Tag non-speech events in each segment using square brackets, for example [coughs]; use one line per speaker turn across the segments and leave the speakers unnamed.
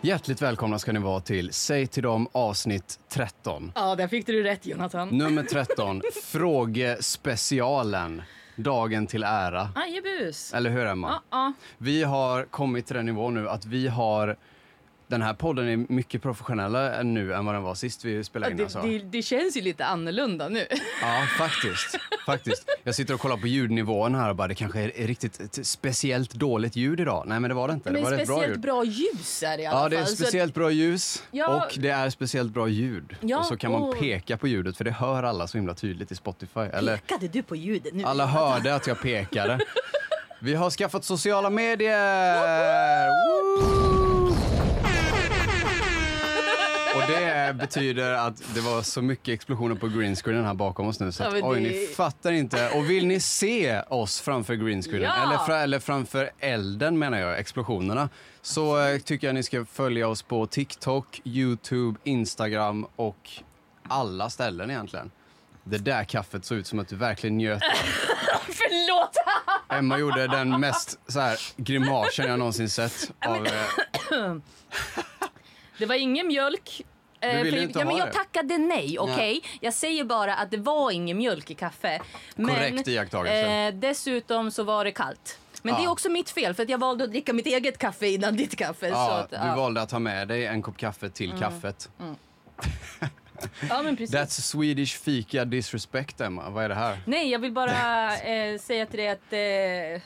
Hjärtligt välkomna ska ni vara till Säg till dem avsnitt 13.
Ja, där fick du rätt Jonathan.
Nummer
[laughs]
13, frågespecialen. Dagen till ära.
Ajebus!
Eller hur Emma?
Ja, ja.
Vi har kommit till den nivån nu att vi har... Den här podden är mycket professionellare än nu än vad den var sist vi spelade in.
Det,
Alltså.
det, det känns ju lite annorlunda nu.
Ja, faktiskt. faktiskt. Jag sitter och kollar på ljudnivån här och bara, det kanske är är riktigt ett speciellt dåligt ljud idag. Nej, men det var det inte. Det
Men
var rätt bra
speciellt
ljud.
bra ljus är det i alla
Ja,
fall.
det är
så att-
speciellt bra ljus
Ja.
och det är speciellt bra ljud.
Ja,
och så kan man
och-
peka på ljudet för det hör alla så himla tydligt i Spotify. Eller
Pekade du på ljudet nu?
alla hörde att jag pekade. Vi har skaffat sociala medier! Woo! Och det betyder att det var så mycket explosioner på greenscreenen här bakom oss nu så
Ja,
att,
men
oj,
det-
ni fattar inte. Och vill ni se oss framför greenscreenen,
Ja!
eller, fra, eller framför elden menar jag, explosionerna, så eh, tycker jag ni ska följa oss på TikTok, YouTube, Instagram och alla ställen egentligen. Det där kaffet såg ut som att du verkligen njöt
[laughs] Förlåt!
Emma gjorde den mest så här, grimasen jag någonsin sett.
[laughs]
Av, eh,
Det var ingen mjölk. Eh,
ville
för-
inte
ja, men
ha
jag
det.
tackade nej, okej? Jag säger bara att det var ingen mjölk i kaffe. Men,
Korrekt iakttagelse. Ah.
Eh, dessutom så var det kallt. Men det är
Ja.
också mitt fel för att jag valde att dricka mitt eget kaffe innan ditt kaffe. så
ja,
att,
Ah, du
ja. Mm.
valde att ta med dig en kopp kaffe till kaffet.
ja, men precis.
That's Swedish fika disrespect, Emma. Vad är det här?
Nej, jag vill bara eh, säga till dig att... Eh,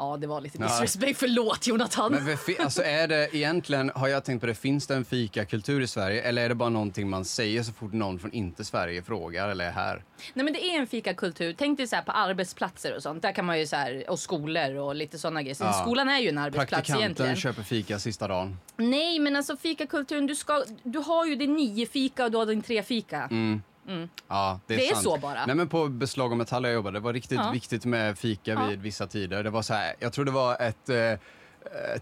ja, det var lite disrespect. Förlåt, Jonathan.
Men vad fi- alltså är det egentligen, har jag tänkt på det, finns det en fikakultur i Sverige eller är det bara någonting man säger så fort någon från inte Sverige frågar eller är här?
Nej, men det är en fikakultur. Tänk dig så här på arbetsplatser och sånt. Där kan man ju så här, och skolor och lite sådana grejer. Så
Ja.
Skolan är ju en arbetsplats
Praktikanten
egentligen.
köper fika sista dagen.
Nej, men alltså fikakulturen. Du, ska, du har ju din nio fika och du har din tre fika.
Mm. Ja, det är,
Det är
sant.
så bara.
Nej, men på Beslag och Metall där jag jobbade, det var riktigt
Ja.
viktigt med fika
Ja.
vid vissa tider. Det var så här, jag tror det var ett eh, eh,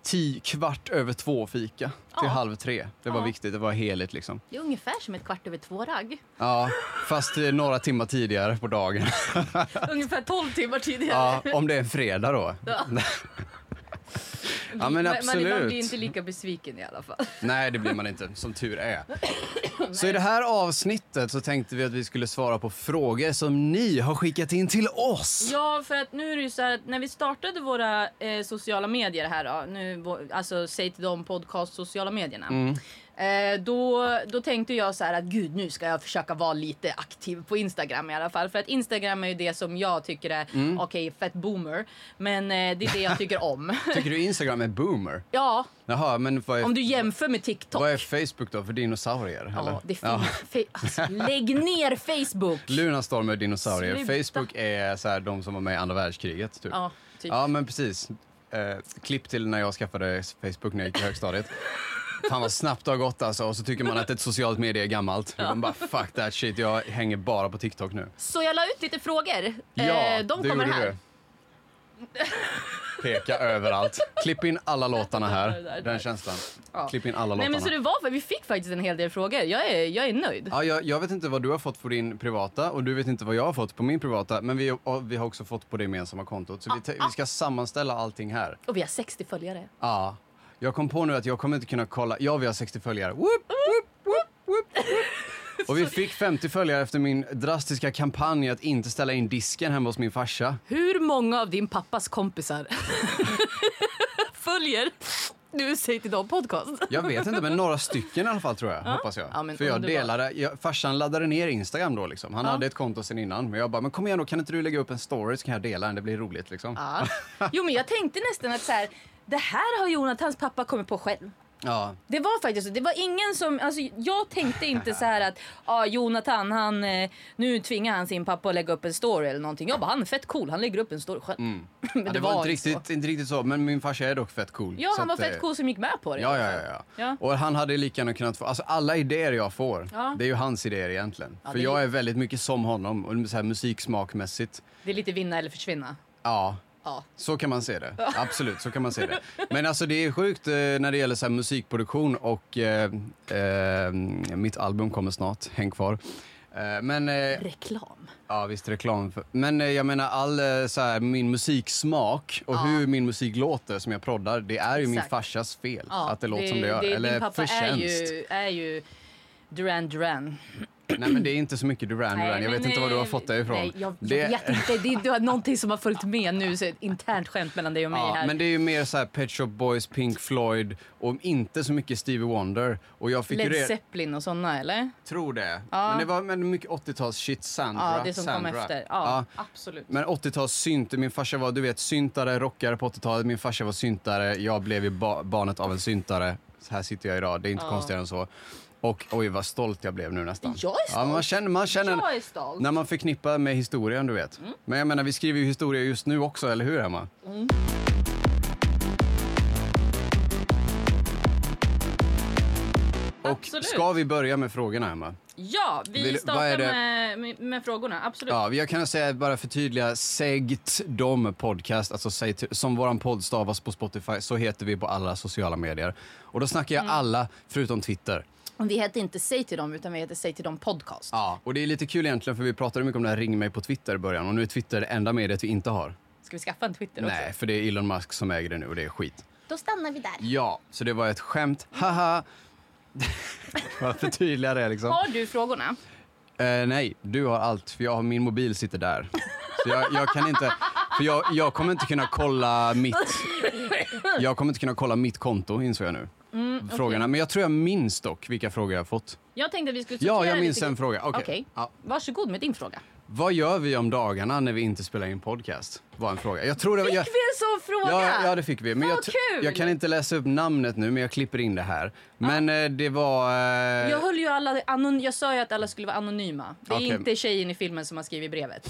ti, kvart över två fika till
Ja.
halv tre. Det var
Ja.
viktigt, det var heligt liksom.
Det är ungefär som ett kvart över två-ragg.
Ja, fast eh, några timmar tidigare på dagen.
[laughs] ungefär tolv timmar tidigare.
Ja, om det är en fredag då. [laughs]
Ja.
Ja men absolut.
Man, man blir inte lika besviken i alla fall.
Nej, det blir man inte, som tur
[coughs]
är. Så i det här avsnittet så tänkte vi att vi skulle svara på frågor som ni har skickat in till oss.
Ja, för att nu är det ju så här att när vi startade våra eh, sociala medier här då, nu, vå- alltså säg till dem podcast sociala medierna.
Mm.
Eh, då, då tänkte jag så här att gud nu ska jag försöka vara lite aktiv på Instagram i alla fall. För att Instagram är ju det som jag tycker är,
Mm.
okej fett boomer, men eh, det är det jag tycker om. [laughs]
Tycker du Instagram är boomer?
ja,
Jaha, men vad är
om du jämför med TikTok.
Vad är Facebook då för dinosaurier? eller?
Ja, det fin- fe- alltså, lägg ner Facebook!
Lunarstorm är dinosaurier.
Sluta.
Facebook är så här, de som var med i andra världskriget. Typ.
Ja, typ.
ja, men precis. Eh, klipp till när jag skaffade Facebook när jag gick i högstadiet. Fan vad snabbt det har gått alltså. Och så tycker man att ett socialt medie är gammalt. Man bara fuck that shit, jag hänger bara på TikTok nu.
Så jag la ut lite frågor.
Ja,
eh, de
det
kommer
gjorde
här.
du. Peka överallt. Klipp in alla låtarna
[laughs] Där, där,
här.
där.
Den känslan.
Ja.
Klipp in alla låtarna.
Nej, men så det var, vi fick faktiskt en hel del frågor. Jag är, jag är nöjd.
Ja, jag, jag vet inte vad du har fått på din privata och du vet inte vad jag har fått på min privata. Men vi, och vi har också fått på det gemensamma kontot. Så vi, te- vi ska sammanställa allting här.
Och vi har 60 följare.
Ja. Jag kom på nu att jag kommer inte kunna kolla. Ja, vi har 60 följare. Whoop, whoop, whoop, whoop, whoop.
[laughs]
Och vi fick 50 följare efter min drastiska kampanj att inte ställa in disken hemma hos min farsa.
Hur många av din pappas kompisar [laughs] följer nu Säg till dem podcast?
Jag vet inte, men några stycken i alla fall tror jag. Hoppas jag.
Ja, men
För jag
underbart.
delade, jag, farsan laddade ner Instagram då liksom. Han hade ett konto sen innan. Men jag bara, men kom igen då, kan inte du lägga upp en story så kan jag dela den, det blir roligt liksom.
Ja. Jo, men jag tänkte nästan att så här, det här har Jonathans pappa kommit på själv.
Ja,
Det var faktiskt så. Det var ingen som... Alltså, jag tänkte inte så här att ah, Jonathan, han, eh, nu tvingar han sin pappa att lägga upp en story eller någonting. Jag bara, han är fett cool. Han lägger upp en story själv. [laughs] Men
Mm. Ja, det, var, inte
så.
riktigt, inte riktigt så, men min farsa är dock fett cool.
Ja,
så
han var
att, eh,
fett cool som gick med på det.
Ja, ja, ja, ja.
Ja.
Och han hade lika gärna kunnat få, alltså alla idéer jag får,
Ja.
det är ju hans idéer egentligen.
Ja,
För
det är-
jag är väldigt mycket som honom, och så här musiksmakmässigt.
Det är lite vinna eller försvinna.
Ja,
Ja.
så kan man se det. Absolut, så kan man
[laughs]
se det. Men alltså det är sjukt eh, när det gäller så här musikproduktion och eh, eh, mitt album kommer snart, häng kvar. Eh, Men eh,
Reklam.
Ja, visst reklam. för- Men eh, jag menar all eh, så här, min musiksmak och
Ja.
hur min musik låter som jag proddar, det är ju min
Exakt.
farsas fel
Ja,
att det låter som det gör. Eller
din pappa är
förtjänst.
ju, är ju Duran Duran.
Nej, men det är inte så mycket Duran
Nej,
Duran. Jag
men,
vet inte var du har
eh,
fått det ifrån.
Nej, jag,
det,
jag vet inte. Det är, det är någonting som har följt med nu. Så ett internt skämt mellan dig och mig
ja,
här.
men det är ju mer så här Pet Shop Boys, Pink Floyd och inte så mycket Stevie Wonder. Och jag fick ju
Led
det,
Zeppelin och såna eller?
tror det.
Ja.
Men det var men mycket 80-tals shit, Sandra.
Ja, det som
Sandra.
kom efter. Ja, absolut.
Men 80-tals synt, min farsa var du vet syntare, rockare på 80-talet, min farsa var syntare, jag blev ju ba- barnet av en syntare. Så här sitter jag idag, det är inte
Ja.
konstigare än så. Och oj vad stolt jag blev nu nästan.
Jag är
Ja, man
stolt.
känner, man känner
Jag är stolt. Mm.
när man förknippar med historien du vet. Men jag menar vi skriver ju historia just nu också, eller hur Emma? Och
Absolut.
ska vi börja med frågorna Emma?
Ja, vi
Vill- vad är
startar
det?
med, med, med frågorna. Absolut.
Ja, jag kan säga bara förtydliga, segt dom podcast, alltså säg till, som våran podd stavas på Spotify, så heter vi på alla sociala medier. Och då snackar jag alla förutom Twitter.
Och Vi heter inte Säg till dem, utan vi heter Säg till dem podcast.
Ja. Och det är lite kul egentligen för vi pratade mycket om det här ring mig på Twitter i början och nu är Twitter det enda mediet vi inte har.
Ska vi skaffa en Twitter
Nej, för det är Elon Musk som äger det nu och det är skit.
också? Då stannar vi där.
Ja, så det var ett skämt, haha. [laughs] Vad förtydliga det liksom.
Har du frågorna?
Eh, nej, du har allt, för jag har, min mobil sitter där. Så jag, jag kan inte... För jag, jag kommer inte kunna kolla mitt... Jag kommer inte kunna kolla mitt konto, insåg jag nu.
Mm,
Frågorna. Men jag tror jag minns dock vilka frågor jag har fått.
Jag tänkte att vi skulle
Ja,
sortera
jag minns
lite-
en fråga. Okej.
Okej.
Ja.
Varsågod med din fråga.
Vad gör vi om dagarna när vi inte spelar in podcast? Var en fråga. Jag tror det var... Jag,
Fick vi en sån fråga?
Ja, ja, det fick vi. Men
Vad
jag, tr-
kul!
jag kan inte läsa upp namnet nu, men jag klipper in det här. Men eh, det var... eh,
Jag höll ju alla anon- Jag sa ju att alla skulle vara anonyma. Det är
Okej.
inte tjejen i filmen som har skrivit brevet.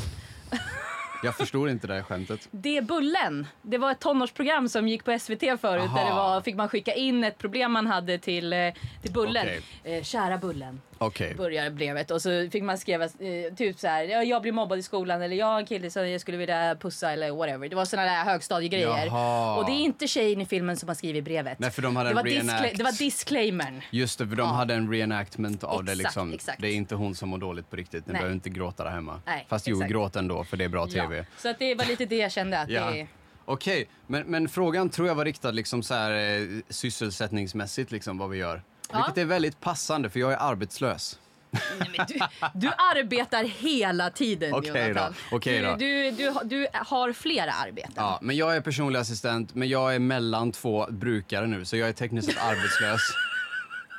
jag förstod inte det här skämtet.
Det är Bullen. Det var ett tonårsprogram som gick på SVT förut.
Aha.
Där det var, fick man skicka in ett problem man hade till, eh, till Bullen.
Okej.
Eh, kära Bullen.
Okej.
börjar brevet och så fick man skriva eh, typ så här, "Ja, jag blir mobbad i skolan eller jag är en kille som jag skulle vilja pussa eller whatever. Det var såna där högstadiegrejer.
Jaha.
Och det är inte tjejen i filmen som har skrivit brevet.
Nej, för de hade
det,
en
var discla-
reenact.
det var
[laughs]
disclaimern.
Just det, för de hade en reenactment av det.
Exakt,
Liksom.
exakt.
Det är inte hon som mår dåligt på riktigt. Ni
Nej.
behöver inte gråta där hemma.
Nej,
Fast jo,
exakt.
gråt ändå, för det är bra
Ja.
tv.
Så att det var lite det jag kände att
Ja.
det
Okej, men, men frågan tror jag var riktad liksom så här, eh, sysselsättningsmässigt, liksom, vad vi gör.
Ja.
Vilket är väldigt passande, för jag är arbetslös.
Nej, men du, du arbetar hela tiden
Okej
Jonathan.
då, okej
du,
då.
Du, du, har- du har flera arbeten.
Ja, men jag är personlig assistent, men jag är mellan två brukare nu, så jag är tekniskt
[laughs]
sett arbetslös.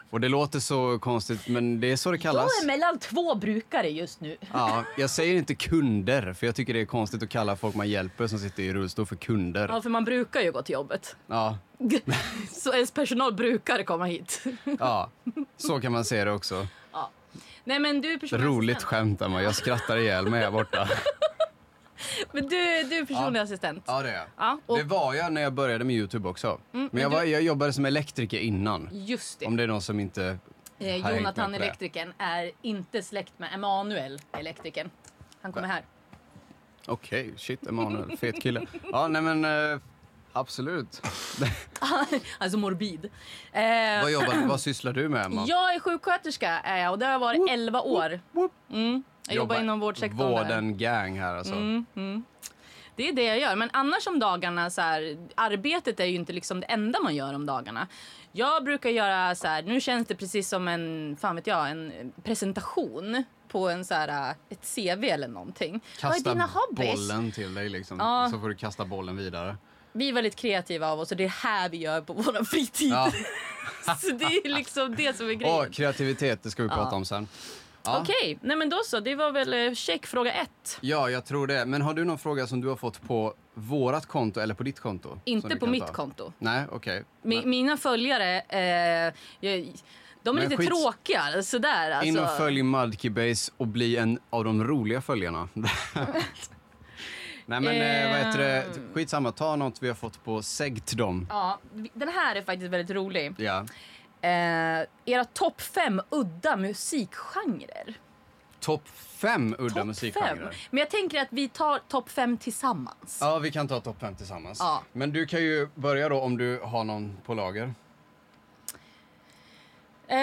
Och det låter så konstigt, men det är så det
Jag
kallas.
är mellan två brukare just nu.
Ja, jag säger inte kunder, för jag tycker det är konstigt att kalla folk man hjälper som sitter i rullstol för kunder.
Ja, för man brukar ju gå till jobbet.
[laughs] Ja,
Så ens personal brukar komma hit.
ja. så kan man se det också.
Ja. Nej men du är personlig
Roligt
assistent.
skämt, Emma. Jag skrattar ihjäl mig här borta.
Men du, du är personlig assistent.
Ja, det är jag.
Ja, och- Mm,
Det var jag när jag började med Youtube också. men jag,
men
var, jag jobbade som elektriker innan.
Just det.
Om det är någon som inte har hängt
eh,
med
Jonathan
på det.
elektrikern är inte släkt med Emanuel elektrikern. Han kommer här.
Okej, shit, Emanuel. Fet kille. Ja, nej men eh, absolut.
[laughs] alltså morbid. Eh,
vad, jobbar, vad sysslar du med, Emma?
jag är sjuksköterska är jag, och det har jag varit 11 år.
whoop.
Mm. Jag jobbar inom vårdsektorn. Mm. där.
Vården gang här alltså.
Det är det jag gör. Men annars om dagarna, så här, arbetet är ju inte liksom det enda man gör om dagarna. Jag brukar göra så här, nu känns det precis som en, fan vet jag, en presentation på en så här, ett CV eller någonting. Vad är dina
Kasta
hobbies?
bollen till dig liksom.
Ja.
Så får du kasta bollen
[laughs]
vidare.
Vi är väldigt kreativa av oss och det är här vi gör på vår fritid.
Ja.
[laughs] så det är liksom det som är grejen.
Åh, kreativitet, det ska vi prata om sen. Ja.
Okej, nej men då så. Det var väl eh, checkfråga ett.
Ja, jag tror det. Men har du någon fråga som du har fått på vårat konto eller på ditt konto? Som
Inte
du
på
kan
mitt
ta?
konto.
Nej, okej.
Mi- Mina följare, eh, jag, de är
Men
lite
skits-
tråkiga. Sådär, alltså.
In och följ Mudkey Base och bli en av de roliga följarna. [laughs] Nej men eh, vad heter det, skitsamma, ta något vi har fått på Säg till dem.
Ehm. Ja, vi- den här är faktiskt väldigt rolig.
Ja.
Eh, era topp fem udda musikgenrer.
Topp fem udda
Topp
musikgenrer.
fem. Men jag tänker att vi tar topp fem tillsammans.
Ja, vi kan ta topp fem tillsammans.
Ja.
Men du kan ju börja då om du har någon på lager.
Eh,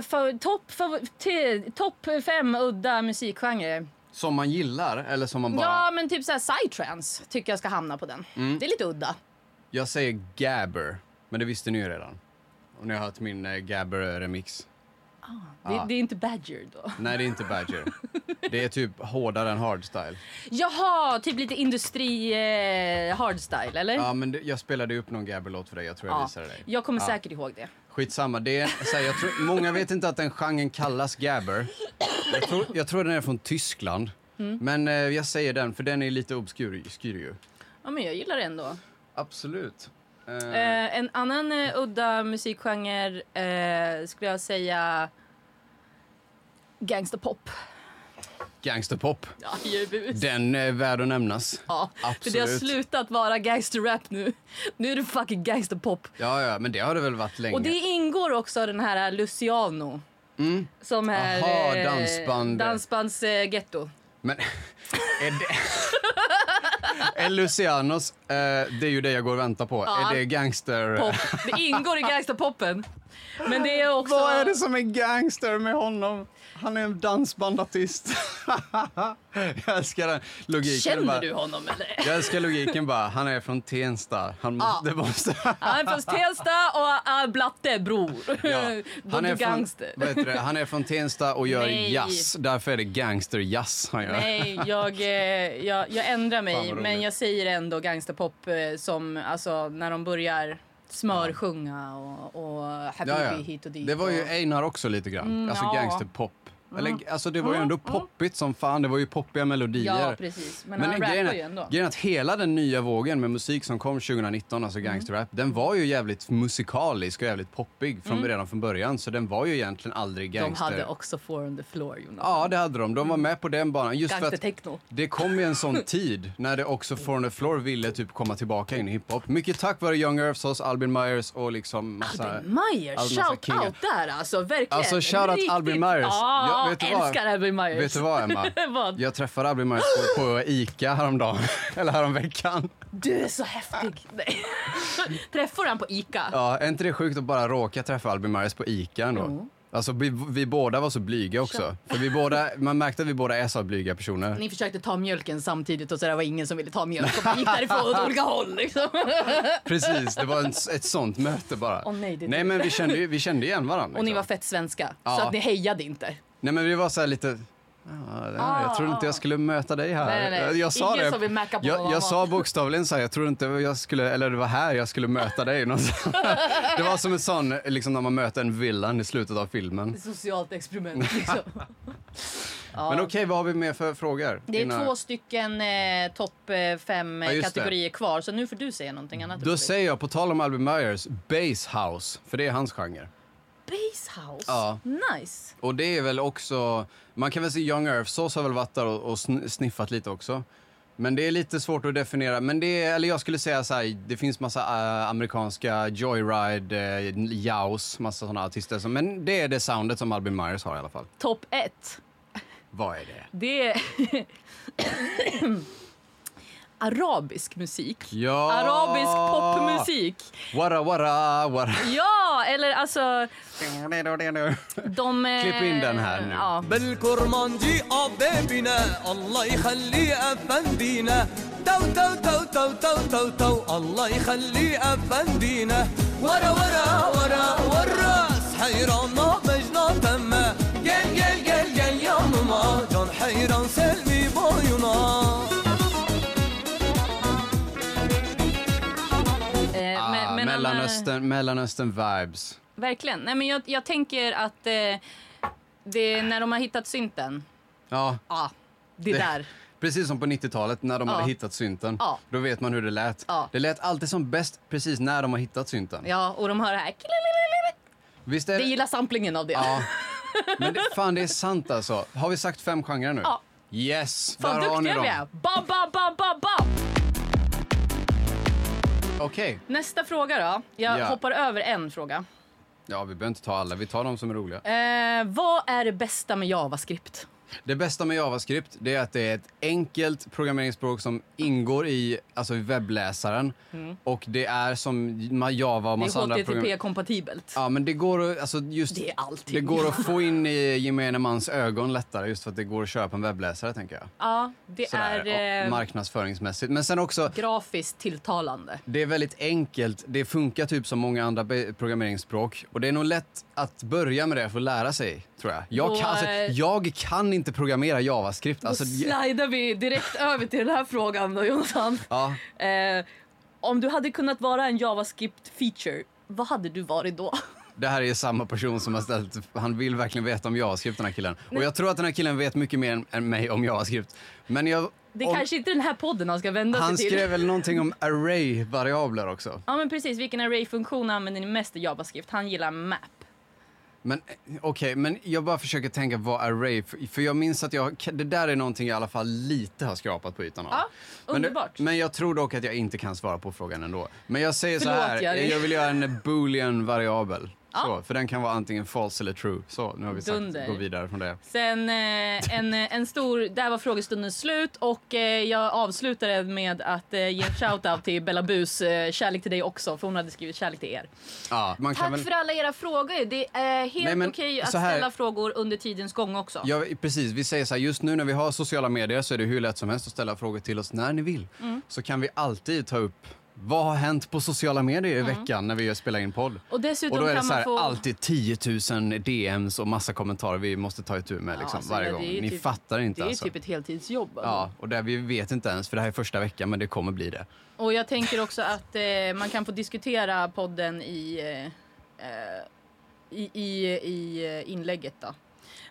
fa- Topp fav- te- topp fem udda musikgenrer.
Som man gillar eller som man bara... Mm.
Ja, men typ såhär psytrance tycker jag ska hamna på den. Det är lite udda.
Jag säger Gabber, men det visste ni ju redan. Och ni har hört min eh, Gabber-remix.
Det, det är inte Badger då.
Nej, det är inte
[laughs]
Badger. det är typ hårdare än hardstyle.
Jaha, typ lite industri eh, hardstyle eller?
Ja, men det, jag spelade ju upp någon Gabber-låt för dig. Jag tror jag
Ja.
visade dig.
Jag kommer
Ja.
säkert ihåg det.
Skitsamma. Det är, så här, jag tror, många vet inte att den genren kallas gabber. Jag tror, jag tror den är från Tyskland.
Mm.
Men eh, jag säger den, för den är lite obskur skur ju.
Ja, men jag gillar det ändå.
Absolut. Eh,
Eh, en annan eh, udda musikgenre eh, skulle jag säga gangsterpop.
Gangsterpop.
Ja, ju bus.
Den eh, är värd att nämnas.
Ja, för det har
absolut.
slutat vara gangsterrap nu. Nu är det fucking gangsterpop.
Ja, ja, men det har det väl varit länge.
Och det ingår också den här eh, Luciano. Som är
Mm. Aha,
eh,
dansband.
dansbands eh, ghetto.
Men [laughs] är det... [laughs] är Lucianos, eh, det är ju det jag går och väntar på.
Ja.
Är det gangster...
Pop. Det ingår i gangsterpoppen. Men det är också...
[laughs] Vad är det som är gangster med honom? Han är en dansbandartist. [laughs] jag älskar den logiken.
Känner
bara.
du honom eller?
Jag älskar logiken bara. Han är från Tensta. Han
Ja.
måste... Det måste [laughs]
Han är från Tensta och är blatte bror. [laughs]
ja.
Han är
från,
gangster.
vad heter det? han är från Tensta och gör
Nej.
jazz. Därför är det gangsterjazz han gör. [laughs]
Nej, jag, eh, jag, jag ändrar
Fan,
mig
vad
men
roligt.
jag säger ändå gangsterpop eh, som alltså, när de börjar smörsjunga och, och happy
Ja, ja.
hit och dit.
Det var ju
och,
Einar också lite grann.
Mm,
alltså
ja. Mm.
gangsterpop. Eller, alltså det var ju ändå poppigt som fan. Det var ju poppiga melodier.
Ja, precis. Men, han
det-
rappar
grejen,
ju ändå.
är- grejen är att hela den nya vågen med musik som kom 2019,
Mm.
alltså gangsterrap, den var ju jävligt musikalisk och jävligt poppig från redan från början. Så den var ju egentligen aldrig
Mm. De
gangster.
hade också Four on the floor, you know.
Ja, det hade de. De var med på den banan. Just för att
Gangstertechno.
det kom ju en sån tid när det också Foreign the Floor ville typ komma tillbaka in i hiphop. Mycket tack vare Young Earths, Albin Myers och liksom massa...
Albin Meyer,
Alltså, massa
shout
kingar.
out där alltså. Verkligen.
Alltså, shout out
Riktigt.
Albin Myers.
Ja,
Jag- vet du vad?
älskar Albin Myers.
Vet du vad, Emma?
[laughs] Vad?
Jag träffade Albin Myers på, på Ica häromdagen, [laughs] eller häromveckan.
Du är så häftig. [laughs] Nej. Träffar han på Ica?
Ja, är inte det sjukt att bara råka träffa Albin Myers på Ica ändå? Alltså vi, vi båda var så blyga också. För vi båda, man märkte att vi båda är så blyga personer.
Ni försökte ta mjölken samtidigt och så där var ingen som ville ta mjölk och man gick därifrån åt [laughs] olika håll liksom.
Precis, det var en, s- ett sånt möte bara.
Åh, nej, det är
nej
du.
men vi kände, ju- vi kände igen varandra.
Och ni
liksom.
var fett svenska,
Ja.
så att ni hejade inte.
Nej men vi var så här lite... "Ah,
Ah,
jag trodde inte
ah.
jag skulle möta dig här.
Nej, nej, nej.
Jag sa
Ingen
det.
som vill märka på vad
jag,
man
jag sa bokstavligen så här, jag trodde inte jag skulle, eller det var här jag skulle möta dig. någonstans. det var som en sån, liksom när man möter en villan i slutet av filmen.
Ett
[laughs]
socialt experiment liksom. ja.
Men okej, vad har vi mer för frågor?
det är
Innan-
två stycken eh, topp eh, fem eh,
Ja, just det.
kategorier kvar, så nu får du säga någonting annat.
Då
Ulrik.
säger jag, på tal om Albin Myers, Bass House, för det är hans genre.
Base house?
Ja.
Nice!
Och det är väl också, man kan väl säga Young Earth Sauce har väl varit där och, och sn- sniffat lite också. Men det är lite svårt att definiera. Men det är, eller jag skulle säga så här, det finns massa äh, amerikanska Joyride, äh, Jaws, massa sådana artister. Som, men det är det soundet som Albin Myers har i alla fall.
Topp ett,
Vad är det?
det är [coughs] arabisk musik.
Ja!
Arabisk popmusik.
Wara, wara, wara. Ah,
Ja, eller alltså... De, eh,
Klipp in den här nu.
Ja.
بالكرمانجي عبابنا الله يخلي افندينا تو تو تو تو تو تو تو الله يخلي افندينا ورا ورا ورا والراس حيران ما مجنون تما قال قال قال قال يا ماما جان حيران سلمي بوينا
Eh,
Ah,
men- men han,
Mellanöstern, Mellanöstern vibes.
eh, verkligen. Nej, men jag, jag tänker att eh, det, när de har hittat synten,
Ja,
ja, det,
Det-
där.
Precis som på 90-talet när de
Ja.
hade hittat synten.
Ja.
Då vet man hur det lät.
Ja.
Det lät alltid som bäst precis när de har hittat synten.
Ja, och de har det här. kililililili.
Visst är
Vi
det?
gillar samplingen av det.
Ja.
[laughs]
Men det, fan, det är sant alltså. Har vi sagt fem genrer nu?
Ja.
Yes,
Fan
där har ni
duktiga vi
dem.
är! Bam, bam, bam, bam, bam.
Okej.
Nästa fråga då. Jag
Ja.
hoppar över en fråga.
Ja, vi behöver inte ta alla. Vi tar de som är roliga.
Eh, vad är det bästa med JavaScript?
Det bästa med JavaScript det är att det är ett enkelt programmeringsspråk som ingår i, alltså i webbläsaren. Och det är som Java och
Mm. Det typ
massa andra
är
program...
HTTP-kompatibelt.
Ja, men det går, att- alltså just,
Det är allting.
det går att få in i gemene mans ögon lättare just för att det går att köra på en webbläsare, tänker jag.
Ja, det
Sådär,
är
och
eh,
marknadsföringsmässigt. Men sen också,
grafiskt tilltalande.
det är väldigt enkelt. Det funkar typ som många andra be- programmeringsspråk. Och det är nog lätt att börja med det för att lära sig, tror jag. Jag,
Då,
kan, alltså,
eh,
jag kan inte programmera JavaScript. Alltså,
Då
jag-
slidar vi direkt över till den här frågan då, Jonathan.
ja.
Eh, om du hade kunnat vara en JavaScript-feature, vad hade du varit då? [laughs]
Det här är samma person som har ställt, han vill verkligen veta om jag har skrivit den här killen. Och jag tror att den här killen vet mycket mer än, än mig om jag har skrivit. Men jag,
Det är
om,
kanske inte den här podden han ska vända
han
sig till.
skrev väl någonting om array-variabler också.
Ja men precis, vilken array-funktion använder ni mest i JavaScript? Han gillar map.
Men eh, okej, men jag bara försöker tänka vad array, för, för jag minns att jag, det där är någonting jag i alla fall lite har skrapat på ytan av.
Ja,
Men det-
underbart.
Men, jag tror dock att jag inte kan svara på frågan ändå. Men jag säger
Förlåt,
så här,
Jerry.
jag vill göra en boolean variabel.
Ja.
Så, för den kan vara antingen false eller true. Så, nu har vi sagt,
Dunder.
gå vidare från det.
Sen eh, en, en stor, där var frågestunden slut och eh, jag avslutade med att eh, ge en shoutout till Bella Bus, eh, kärlek till dig också för hon hade skrivit kärlek till er.
Ja, man kan
Tack
väl...
för alla era frågor, det är helt
Nej, men
okej att
så här-
ställa frågor under tidens gång också.
Ja, precis. Vi säger så här, just nu när vi har sociala medier så är det hur lätt som helst att ställa frågor till oss när ni vill.
Mm.
Så kan vi alltid ta upp vad har hänt på sociala medier i veckan när vi spelar in podd.
Mm. Och dessutom
Och då är det
kan
så
man
här,
få...
alltid 10 000 DMs och massa kommentarer vi måste ta itu med liksom,
alltså,
varje
ja,
gång.
det är ju
Ni
typ-
fattar
Det
inte
är ju
alltså.
typ ett heltidsjobb. alltså.
Ja, och där vi vet inte ens, för det här är första veckan, men det kommer bli det.
Och jag tänker också att eh, man kan få diskutera podden i, eh, eh, i, i, i eh, inlägget då.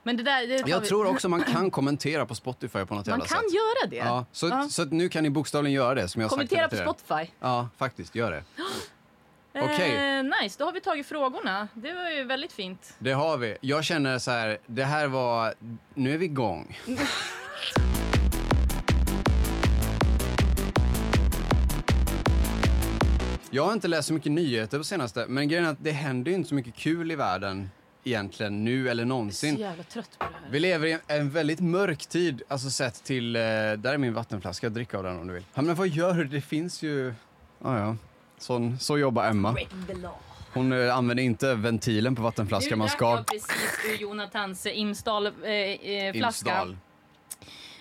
Men det där, det tar
Jag
vi.
tror också man kan kommentera på Spotify på något
man
jävla
kan
sätt.
göra det.
Ja, så,
Ja.
så att nu kan ni bokstavligen göra det som jag har sagt
Kommentera
hela
på
tiden.
Spotify.
Ja, faktiskt, gör det. Okej.
Eh, nice, då har vi tagit frågorna. Det var ju väldigt fint.
Det har vi. Jag känner så här, det här var... Nu är vi igång. [laughs] Jag har inte läst så mycket nyheter på senaste, men grejen är att det händer ju inte så mycket kul i världen egentligen nu eller
Så
någonsin.
jävla trött på det här.
Vi lever i en, en väldigt mörk tid, alltså sett till... Eh, där är min vattenflaska, drick av den om du vill. Ja, men vad gör du? Det finns ju... Ah, ja. Sån, så jobbar Emma.
Break the law.
Hon eh, använder inte ventilen på vattenflaskan, man
drack
ska...
jag precis ur Jonathans Imsdal, eh, eh, flaska.
Imsdal.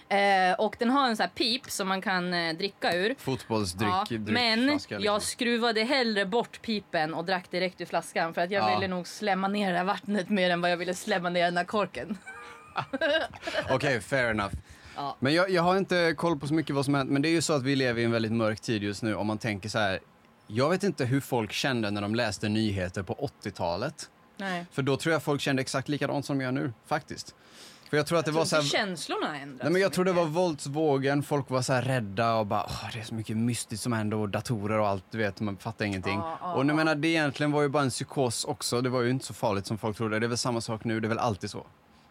Eh, och den har en sån här pip som man kan eh, dricka ur.
Fotbollsdryck,
Ja,
dryck,
men
flaska, liksom.
jag skruvade hellre bort pipen och drack direkt ur flaskan för att jag
Ja.
ville nog slämma ner det här vattnet mer än vad jag ville slämma ner den här korken.
Okej, fair enough.
Ja.
Men jag, jag har inte koll på så mycket vad som hänt, men det är ju så att vi lever i en väldigt mörk tid just nu om man tänker så här. Jag vet inte hur folk kände när de läste nyheter på 80-talet.
Nej.
För då tror jag folk kände exakt likadant som de gör nu, faktiskt. För jag tror att det var så här...
Känslorna har ändrats.
Nej, men jag
så
tror det
mycket.
var våldsvågen, folk var så här rädda och bara "Åh, det är så mycket mystiskt som händer och datorer och allt, du vet, man fattar ingenting.
Ja, ja,
och nu
ja.
menar det egentligen var ju bara en psykos också, det var ju inte så farligt som folk trodde. Det är väl samma sak nu, det är väl alltid så.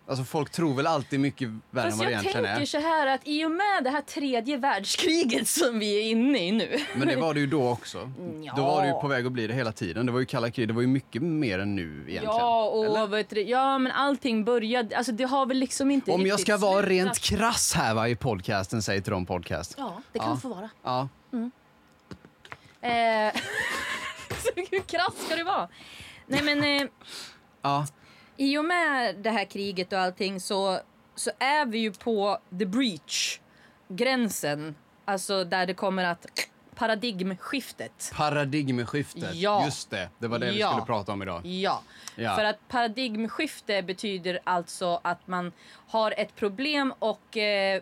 Alltså folk tror väl alltid mycket värre än
Fast
vad det
jag
egentligen
tänker
är.
så här att i och med det här tredje världskriget som vi är inne i nu.
Men det var det ju då också.
Mm, Ja.
Då var det ju på väg att bli det hela tiden. Det var ju kalla krig, det var ju mycket mer än nu egentligen.
Ja,
Eller?
och vet du, ja, men allting började... Alltså det har väl liksom inte
Om jag
riktigt
ska vara
slutat.
rent krass här va, i podcasten, säg till dem podcast.
Ja, det kan
Ja.
du få vara.
Ja.
Eh, [laughs] så hur krass ska du vara? Nej men... Eh,
ja.
I och med det här kriget och allting så, så är vi ju på the breach, gränsen, alltså där det kommer att paradigmskiftet.
Paradigmskiftet,
Ja.
just det. Det var det vi
Ja.
skulle prata om idag.
Ja.
Ja.
för att paradigmskifte betyder alltså att man har ett problem och eh,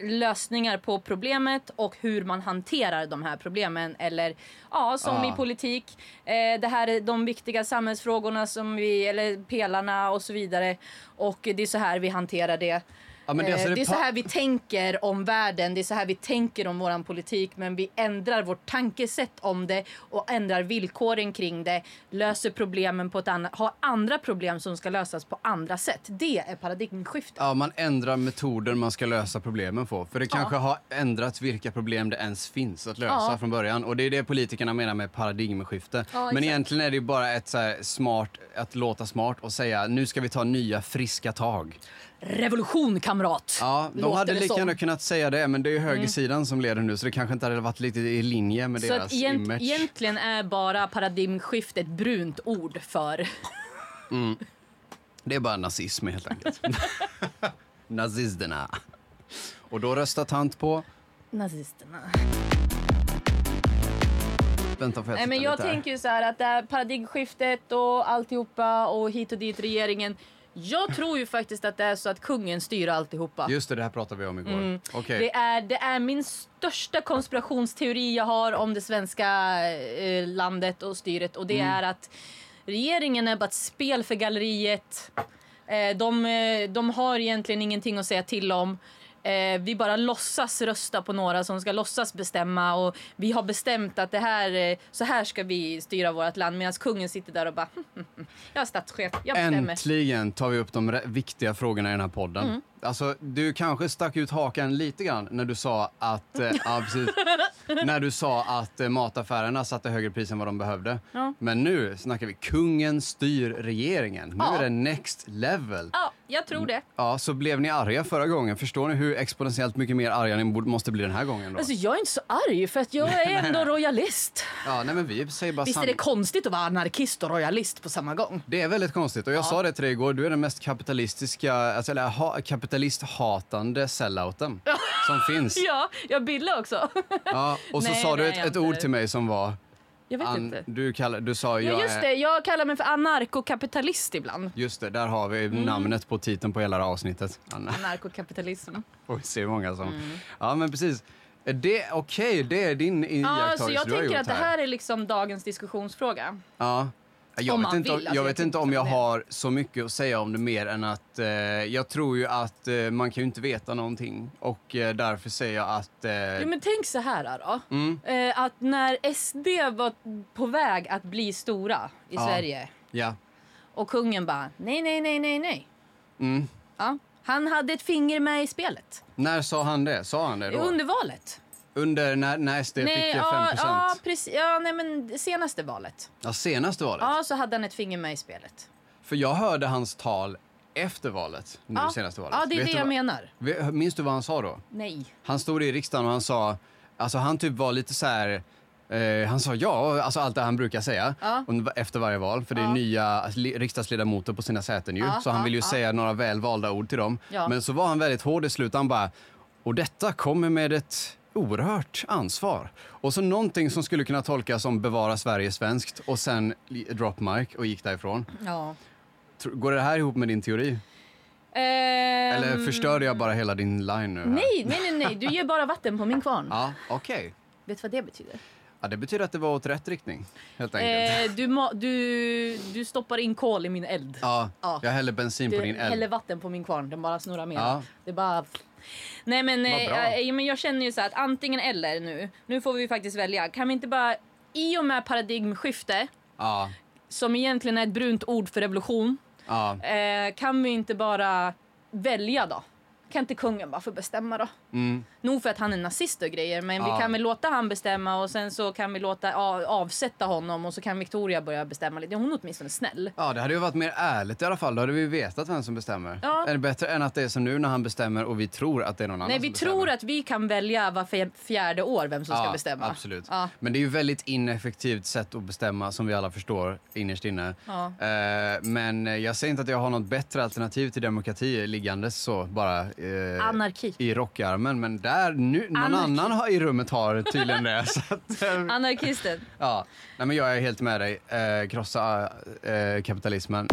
lösningar på problemet och hur man hanterar de här problemen. Eller ja, som
Ah.
i politik. Eh, det här är de viktiga samhällsfrågorna som vi, eller pelarna och så vidare. Och det är så här vi hanterar det.
Ja, men det är alltså
Eh,
det
det är så
pa-
här vi tänker om världen, det är så här vi tänker om våran politik men vi ändrar vårt tankesätt om det och ändrar villkoren kring det, löser problemen på ett annat, har andra problem som ska lösas på andra sätt. Det är paradigmskiftet.
Ja, man ändrar metoden man ska lösa problemen på. För det kanske har ändrats vilka problem det ens finns att lösa
Ja.
från början. Och det är det politikerna menar med paradigmskifte.
Ja,
Men
exakt.
egentligen är det ju bara ett så här smart, att låta smart och säga nu ska vi ta nya friska tag.
Revolution kamrat.
Ja, de
låter
hade
det
lika
som. Mm.
gärna kunnat säga det, men det är ju högersidan som leder nu så det kanske inte hade varit lite i linje med
Så att
deras
egent,
image.
egentligen är bara paradigmskift ett brunt ord för... [laughs]
Det är bara nazism helt
[laughs]
enkelt. Nazisterna. Och då röstar tant på...
Nazisterna.
Vänta får jag
Nej, men
titta
jag
lite här.
tänker ju så här att det här paradigmskiftet och alltihopa och hit och dit regeringen. Jag tror ju faktiskt att det är så att kungen styr alltihopa.
Just det, det här pratade vi om igår.
Mm.
Okej.
Det är, det är min största konspirationsteori jag har om det svenska eh, landet och styret och det
Mm.
är att regeringen är bara ett spel för galleriet. Eh, de, eh, de har egentligen ingenting att säga till om. Eh, vi bara låtsas rösta på några som ska låtsas bestämma och vi har bestämt att det här, eh, så här ska vi styra vårt land medan kungen sitter där och bara "Hm, jag är Mm. statschef, jag bestämmer.
Äntligen tar vi upp de re- viktiga frågorna i den här podden. Alltså, du kanske stack ut hakan lite grann när du sa att,
[laughs]
eh, ja, precis, när du sa att eh, mataffärerna satte högre pris än vad de behövde.
Ja.
Men nu snackar vi kungen styr regeringen. Nu
Ja.
är det next level.
Ja, jag tror det.
Ja, så blev ni arga förra gången. Förstår ni hur exponentiellt mycket mer arga ni borde- måste bli den här gången? Då?
Alltså, jag är inte så arg för att jag
[laughs]
är ändå royalist.
Ja, nej, men vi säger bara
Visst är
sant.
det konstigt att vara anarkist och royalist på
[laughs]
samma gång?
Det är väldigt konstigt. Och jag sa det till dig igår, du är den mest kapitalistiska, alltså, eller ha, kapitalisthatande sellouten som finns.
[laughs] Ja, jag bildar också.
Ja, och så
Nej,
sa
det
du
är jag
ett, ett
inte.
ord till mig som var...
[laughs] Jag vet
An,
inte.
du, kall, du sa jag
Ja, just
är...
det. Jag kallar mig för anarkokapitalist ibland.
Just det, där har vi
Mm.
namnet på titeln på hela det här avsnittet. Anna,
Anarkokapitalism.
[laughs] får vi se hur många som...
Mm.
Ja, men precis. Det, Okej, det är din
Ja,
iakttagelse
så jag
du har
tänker
gjort Eh.
att det här är liksom dagens diskussionsfråga.
Ja. Jag
Om
vet
man
inte om,
vill,
jag
alltså, jag
vet
tänker
inte om
som
jag
det.
har så mycket att säga om det mer än att eh, jag tror ju att eh, man kan ju inte veta någonting och eh, därför säger jag att... Eh,
Jo, men tänk så här då.
Mm.
Eh, att när SD var på väg att bli stora i
Ja.
Sverige
Ja.
och kungen bara nej, nej, nej, nej, nej.
Mm.
Ja. Han hade ett finger med i spelet.
När sa han det? Sa han det då?
Under valet.
Under när, när SD fick eh, 5
ja, ja,
procent?
precis. Ja, nej, men det senaste valet.
Ja, senaste valet.
Ja, så hade han ett finger med i spelet.
För jag hörde hans tal efter valet, nu
ja.
senaste valet.
Ja, det är
Vet
det
du
jag
vad-
menar.
Ve- Minns du vad han sa då?
Nej.
Han stod i riksdagen och han sa, alltså han typ var lite så här, eh, han sa ja, alltså allt det han brukar säga
Ja.
om- efter varje val, för det är nya li- riksdagsledamöter på sina säten ju,
Ja,
så han
ja,
vill ju
ja.
säga några välvalda ord till dem.
Ja.
Men så var han väldigt hård i slutet, han bara, och detta kommer med ett oerhört ansvar. Och så någonting som skulle kunna tolkas som bevara Sverige svenskt och sen li- drop mic och gick därifrån.
Ja.
Tr- Går det här ihop med din teori? Eller
Ehm,
förstörde jag bara hela din line nu? här?
Nej, nej, nej, nej. Du ger bara vatten på min kvarn.
Ja, okej.
Vet du vad det betyder?
Ja, det betyder att det var åt rätt riktning, helt enkelt.
Eh, du, ma- du, du stoppar in kol i min eld.
ja,
ja.
jag häller bensin
Du
på din eld.
häller vatten på min kvarn, den bara snurrar mer.
Ja.
Det bara... Nej men,
Vad bra.
eh, eh, men jag känner ju så här att antingen eller nu. Nu får vi ju faktiskt välja. Kan vi inte bara, i och med paradigmskifte,
Ja,
som egentligen är ett brunt ord för revolution,
ja.
eh, kan vi inte bara välja då? Kan inte kungen bara få bestämma då?
Mm.
Nog för att han är nazist och grejer, men
Ja.
vi kan väl låta han bestämma och sen så kan vi låta ja, avsätta honom och så kan Victoria börja bestämma lite. Hon är åtminstone snäll.
ja, det hade ju varit mer ärligt i alla fall. Då hade vi vetat vem som bestämmer.
Ja.
Är det bättre än att det är som nu när han bestämmer och vi tror att det är någon annan
Nej,
som
vi
bestämmer?
tror att vi kan välja var fj- fjärde år vem som ska
ja,
bestämma.
Absolut.
Ja.
Men det är ju väldigt ineffektivt sätt att bestämma som vi alla förstår innerst inne.
Ja.
Eh, men jag säger inte att jag har något bättre alternativ till demokrati liggandes så bara eh,
Anarki.
i rockarmen. Men där nu, någon
Anarki.
annan har, i rummet har tydligen det. [laughs] så att, eh,
Anarkisten.
Ja, nej men jag är helt med dig. Eh, krossa eh, kapitalismen.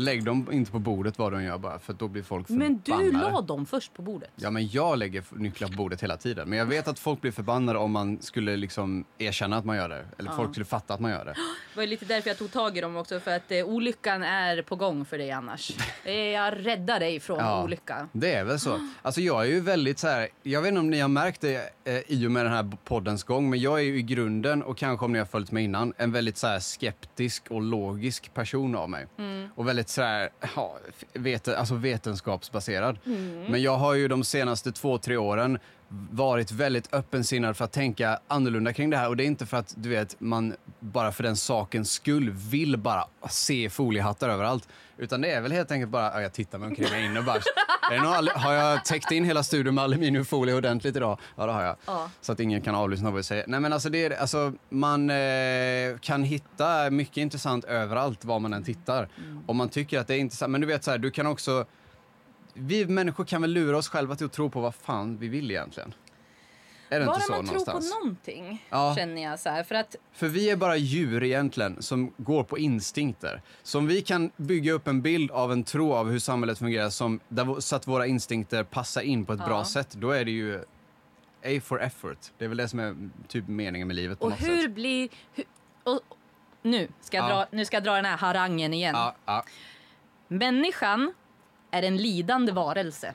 Lägg dem inte på bordet vad de gör bara, för då blir folk förbannade.
Men du la dem först på bordet.
Ja, men jag lägger f- nycklar på bordet hela tiden. Men jag vet att folk blir förbannade om man skulle liksom erkänna att man gör det. Eller folk skulle fatta att man gör det.
Det var ju lite därför jag tog tag i dem också, för att eh, olyckan är på gång för
[laughs]
dig annars. Eh, jag räddar dig från
Ja,
olyckan.
Det är väl så. Alltså jag är ju väldigt så här, jag vet inte om ni har märkt det eh, i och med den här poddens gång, men jag är ju i grunden, och kanske om ni har följt mig innan, en väldigt så här skeptisk och logisk person av mig. Och väldigt så här, ja, vet, alltså vetenskapsbaserad. Men jag har ju de senaste två, tre åren varit väldigt öppensinnad för att tänka annorlunda kring det här. Och det är inte för att du vet, man bara för den sakens skull vill bara se foliehattar överallt. Utan det är väl helt enkelt bara, ja, jag tittar mig omkring mig in och bara, är det någon, al- har jag täckt in hela studion med aluminiumfolie ordentligt idag? Ja, det har jag.
Ja.
Så att ingen kan avlyssna vad jag säger. Nej, men alltså, det är, alltså man eh, kan hitta mycket intressant överallt var man än tittar.
Mm.
Om man tycker att det är intressant. Men du vet så här, du kan också vi människor kan väl lura oss själva till att tro på vad fan vi vill egentligen. Är det
Bara
inte så
man
någonstans?
tror på någonting
Ja.
känner jag så här. För att
För vi är bara djur egentligen som går på instinkter. Så om vi kan bygga upp en bild av en tro av hur samhället fungerar som, där, vå- så att våra instinkter passar in på ett bra
Ja.
sätt, då är det ju A for effort. Det är väl det som är typ meningen med livet på
Och
något
hur
sätt.
blir... Hur, och, nu, ska jag
Ja.
dra, nu ska jag dra den här harangen igen.
Ja, ja,
Människan är en lidande varelse.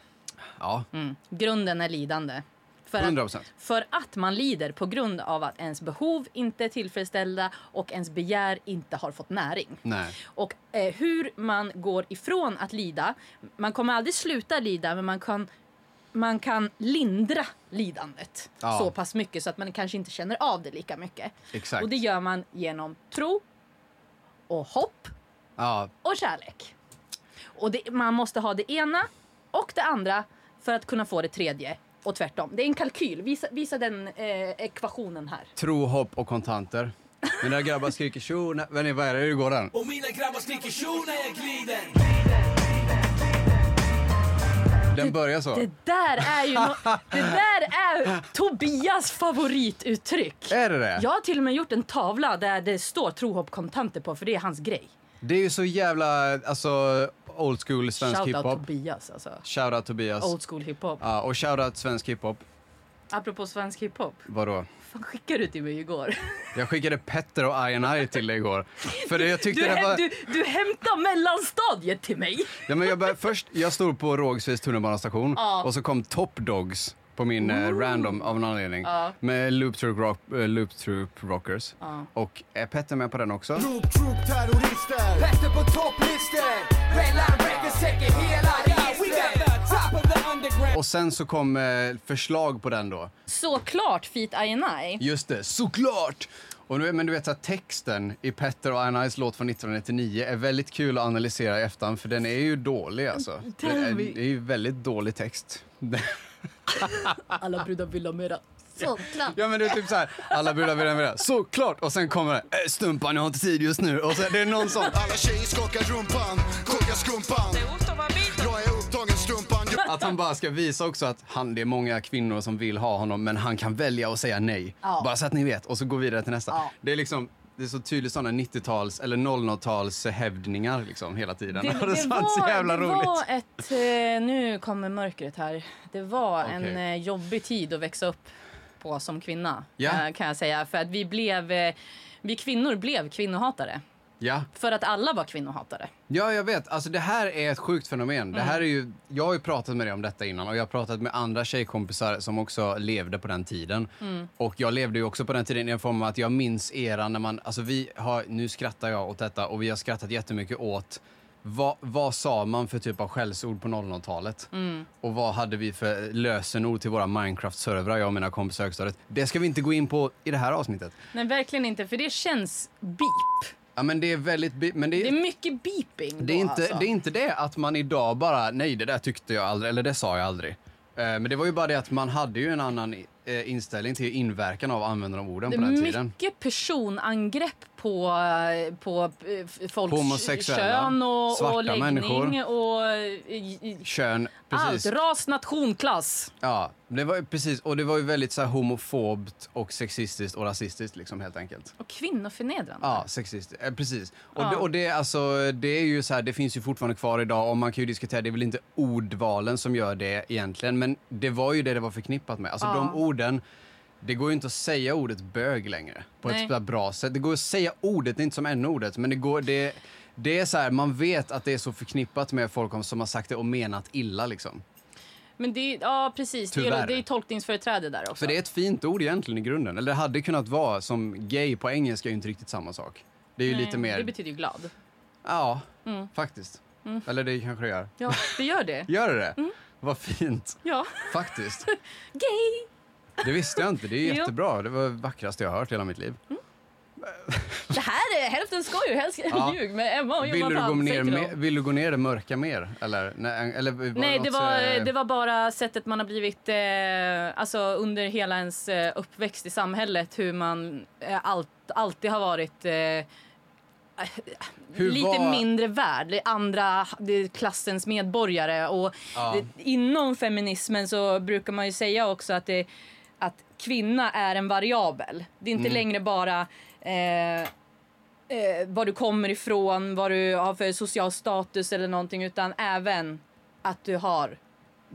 ja.
Mm. Grunden är lidande. För att,
100%.
för att man lider på grund av att ens behov inte är tillfredsställda och ens begär inte har fått näring.
Nej.
Och eh, hur man går ifrån att lida. Man kommer aldrig sluta lida, men man kan, man kan lindra lidandet
Ja.
så pass mycket så att man kanske inte känner av det lika mycket.
Exakt.
Och det gör man genom tro och hopp
Ja,
och kärlek. Och det, man måste ha det ena och det andra för att kunna få det tredje och tvärtom. Det är en kalkyl. Visa, visa den eh, ekvationen här.
tro, hopp och kontanter. Mina grabbar skriker tjo, nej, vad är det, hur går den?
Och mina grabbar skriker tjo när jag glider
Den börjar så.
Det där är ju nå- det där är Tobias favorituttryck.
Är det det?
Jag har till och med gjort en tavla där det står tro, hopp, kontanter på för det är hans grej.
Det är ju så jävla alltså, old school svensk
Shoutout
hiphop.
Tobias alltså.
Shoutout Tobias.
Old school hiphop.
Ja, och shoutout svensk hiphop.
Apropå svensk hiphop.
Vadå?
Fan skickade du till mig igår?
Jag skickade Petter och INI till dig igår. För det- jag tyckte
Du,
det
häm-
var...
du, du hämtar mellanstadiet till mig.
Ja, men jag började, först, jag stod på Rågsveds tunnelbanestation
Ja.
och så kom Top Dogs på min eh, random av någon anledning.
Ja.
Med Loop Troop, rock, eh, Loop Troop Rockers.
Ja.
Och är Petter med på den också?
Troop, troop, terrorister Petter på topplistor Mellan räcker hela
We
registret
got the top of the underground
Och sen så kom eh, förslag på den då.
Såklart Feet INI.
Just det, såklart! Och nu, men du vet att texten i Petter och Anais låt från 1999 är väldigt kul att analysera i efterhand för den är ju dålig alltså. Det
Mm, Tell
är,
me.
det är ju väldigt dålig text. [laughs]
Alla brudar vill ha mera. Såklart.
ja men det är typ så här, alla brudar vill ha med det, såklart! Och sen kommer det, "Eh, stumpan jag har inte tid just nu. Och sen, det är någon sån,
Alla tjejer skakar rumpan, kokar skumpan Jag är upptagen strumpan
att han bara ska visa också att han, det är många kvinnor som vill ha honom men han kan välja att säga nej.
Ja.
Bara så att ni vet. Och så går vi vidare till nästa.
Ja.
Det är liksom det är så tydligt sådana 90-tals eller 00-tals hävdningar liksom hela tiden. [laughs]
Det, det,
Och är
var,
så jävla
det
roligt.
var ett... Eh, nu kommer mörkret här. Det var
Okej.
en eh, jobbig tid att växa upp på som kvinna.
Ja.
eh, Kan jag säga. För att vi blev... Eh, vi kvinnor blev kvinnohatare.
Ja.
För att alla var kvinnohatare.
ja, jag vet. Alltså det här är ett sjukt fenomen. Det här
Mm.
är ju, jag har ju pratat med dig om detta innan och jag har pratat med andra tjejkompisar som också levde på den tiden.
Mm.
Och jag levde ju också på den tiden i en form av att jag minns eran när man, alltså vi har, nu skrattar jag åt detta och vi har skrattat jättemycket åt vad, vad sa man för typ av skällsord på 00-talet?
Mm.
Och vad hade vi för lösenord till våra Minecraft-servrar, jag och mina kompisar i högstadiet? Det ska vi inte gå in på i det här avsnittet.
Nej, verkligen inte. För det känns beep.
Ja, men det är väldigt... bi- Men
Det är mycket beeping då,
Det är, inte,
alltså.
det är inte det att man idag bara, nej det där tyckte jag aldrig, eller det sa jag aldrig. Eh, Men det var ju bara det att man hade ju en annan eh, inställning till inverkan av användandet av orden
Det
på den
är
tiden.
mycket personangrepp på, eh, på eh, f- folks
På homosexuella,
kön och,
svarta
och läggning
människor.
och eh, i- i-
Kön,
allt.
precis.
Ras, nation, klass.
Ja, det var ju precis. Och det var ju väldigt så här homofobt och sexistiskt och rasistiskt liksom helt enkelt.
Och kvinnoförnedrande.
Ja, sexist. Eh, precis. Och,
Ja.
det, och det, är alltså, det är ju så här, det finns ju fortfarande kvar idag och man kan ju diskutera, det är väl inte ordvalen som gör det egentligen, men det var ju det det var förknippat med. Alltså
Ja.
de orden, det går ju inte att säga ordet bög längre på
Nej.
ett sådär bra sätt. Det går att säga ordet, det är inte som n-ordet, men det går, det, det är så här, man vet att det är så förknippat med folk som har sagt det och menat illa liksom.
Men det, är- ja, precis. Det är,
Tyvärr.
det är tolkningsföreträde där också.
För det är ett fint ord egentligen i grunden, eller det hade kunnat vara som gay på engelska är ju inte riktigt samma sak. Det är ju
Nej,
lite mer...
Eh, Det betyder ju glad. Mm.
Ja, faktiskt. Eller det kanske det gör. [laughs]
Ja, det gör det. Mm.
Gör det det? Vad fint,
Ja.
faktiskt.
Gay!
Det visste jag inte. Det är
[laughs] Jo.
jättebra. Det var det vackraste jag har hört i hela mitt liv.
Det här är hälften skoj och hälften
Ja.
ljug med Emma och
Vill
Jonathan.
du, gå
Säg
ner
till
mer,
dem.
vill du gå ner i det mörka mer? Eller? Nej, eller var
Nej, det
något,
var,
eh,
det var bara sättet man har blivit, eh, alltså under hela ens eh, uppväxt i samhället, hur man eh, allt, alltid har varit eh,
Hur
lite
var-
mindre värd, li- andra det, klassens medborgare. Och
Ja.
det, inom feminismen så brukar man ju säga också att, det, att kvinna är en variabel. Det är inte
Mm.
längre bara eh, eh, var du kommer ifrån, vad du har för social status eller någonting, utan även att du har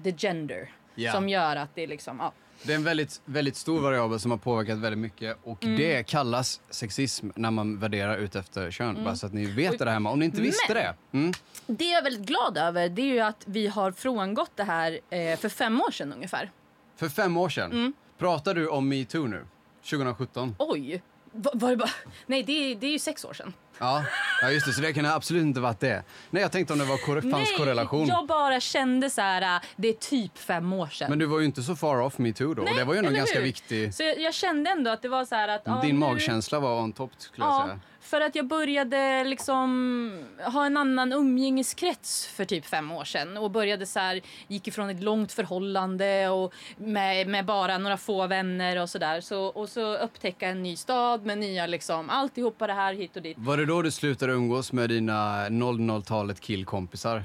the gender
Ja.
som gör att det är liksom, ja.
Det är en väldigt, väldigt stor variabel som har påverkat väldigt mycket och
Mm.
det kallas sexism när man värderar ut efter kön. Bara så att ni vet det här hemma. Om ni inte visste
Mm. Men-
det. Mm.
Det jag är väldigt glad över det är ju att vi har frångått det här eh, för fem år sedan ungefär.
För fem år sedan.
Mm.
Pratar du om metoo nu? 2017?
Oj! Va- Var det bara... Nej, det är, det är ju sex år sedan.
Ja. ja, just det. Så det kan absolut inte varit det. Nej, jag tänkte om det var kor- fanns korrelation.
jag bara kände så här, äh, det är typ fem år sedan.
Men du var ju inte så far off metoo då. och det var ju ändå
eller
ganska
hur?
viktig.
Så jag, jag kände ändå att det var så här att... ja,
Din
nu-
magkänsla var on top skulle jag
Ja,
säga.
för att jag började liksom ha en annan umgängeskrets för typ fem år sedan och började så här, gick ifrån ett långt förhållande och med, med bara några få vänner och sådär så, och så upptäcka en ny stad med nya liksom alltihopa det här hit och dit.
Var det då du slutade umgås med dina 00-talet killkompisar?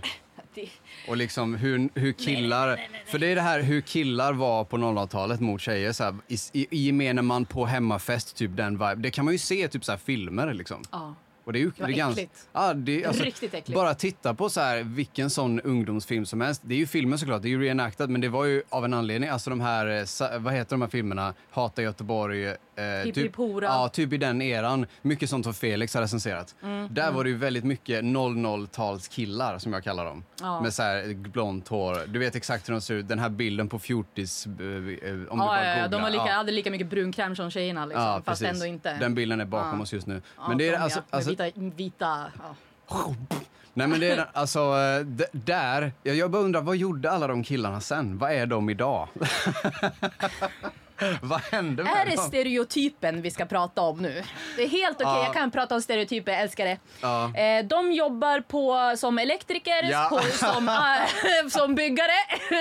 Det,
Och liksom hur, hur killar... För det är det här hur killar var på 00-talet mot tjejer. Så här, i, i, I gemene man på hemmafest, typ den vibe. Det kan man ju se i typ så här filmer liksom.
ja.
Och det är ju
var
det är ganska-
äckligt.
Ja, det, är- alltså,
Riktigt äckligt.
Bara titta på så här, vilken sån ungdomsfilm som helst. Det är ju filmer såklart, det är ju reenactat, men det var ju av en anledning. Alltså de här, eh, sa- vad heter de här filmerna? Hata Göteborg. Eh,
Hipp, hipp, hora.
Ja, typ i den eran. Mycket sånt som Felix har recenserat.
Mm,
Där var det ju väldigt mycket 00-talskillar som jag kallar dem.
Ja.
Med så här blont hår. Du vet exakt hur de ser ut. Den här bilden på fjortis... eh, eh, Om du
Ja,
bara
ja, ja, de
googlar.
var lika,
Ja.
hade lika mycket brunkräm som tjejerna liksom,
Ja,
fast
precis.
ändå inte.
Den bilden är bakom
Ja.
oss just nu.
Ja,
Men det är
de, ja,
alltså,
med
alltså,
vita, vita ja.
[laughs] Nej men det
[laughs]
är alltså, eh, d- där, jag, jag bara undrar, vad gjorde alla de killarna sen? Vad är de idag? [laughs] vad hände med
Är det
dem?
stereotypen vi ska prata om nu? Det är helt okej,
Ja.
jag kan prata om stereotyper, jag älskar det.
Ja.
Eh, de jobbar på, som elektriker,
Ja.
på,
[laughs]
som, eh, som byggare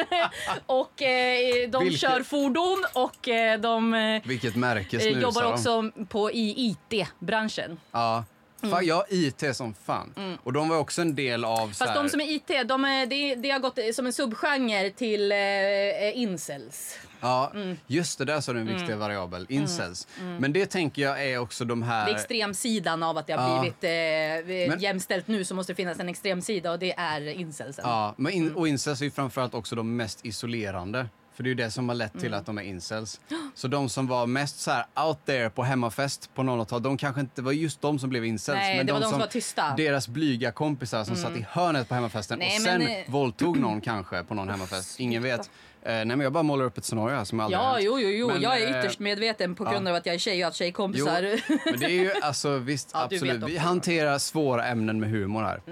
[laughs] och eh, de
Vilket-
kör fordon och eh, de eh,
Vilket märke snusar
jobbar
de?
också på i IT-branschen.
Ja. Fan, jag har IT som fan. Och de var också en del av så
Mm. Fast
här,
de som är IT, de är, det, det har gått som en subgenre till eh, eh, incels.
Ja,
Mm.
just det där sa du en viktig variabel, incels. Men det tänker jag är också de här...
Det är extremsidan av att det har
Ja.
blivit eh,
Men-
jämställt nu så måste det finnas en extremsida och det är incelsen.
Ja, men
Mm.
in, och incels är ju framförallt också de mest isolerande. För det är ju det som har lett till
Mm.
att de är
[gasps]
incels. Så de som var mest så här out there på hemmafest på 00-talet, de kanske inte var just de som blev incels.
Nej,
men
det var de som var tysta. Mm.
Deras blyga kompisar som satt i hörnet på hemmafesten
Nej,
och sen
men, eh,
våldtog någon
[clears throat]
kanske på någon hemmafest. Ingen vet. Eh, nej, men jag bara målar upp ett scenario här som aldrig har
Ja,
hänt.
jo, jo, jo.
Men,
jag är
eh,
ytterst medveten på grund av att jag är tjej och att
Jo,
tjejkompisar. [laughs]
[laughs] men det är ju alltså visst,
Ja, du
absolut.
vet Mm.
Vi
också.
hanterar svåra ämnen med humor här.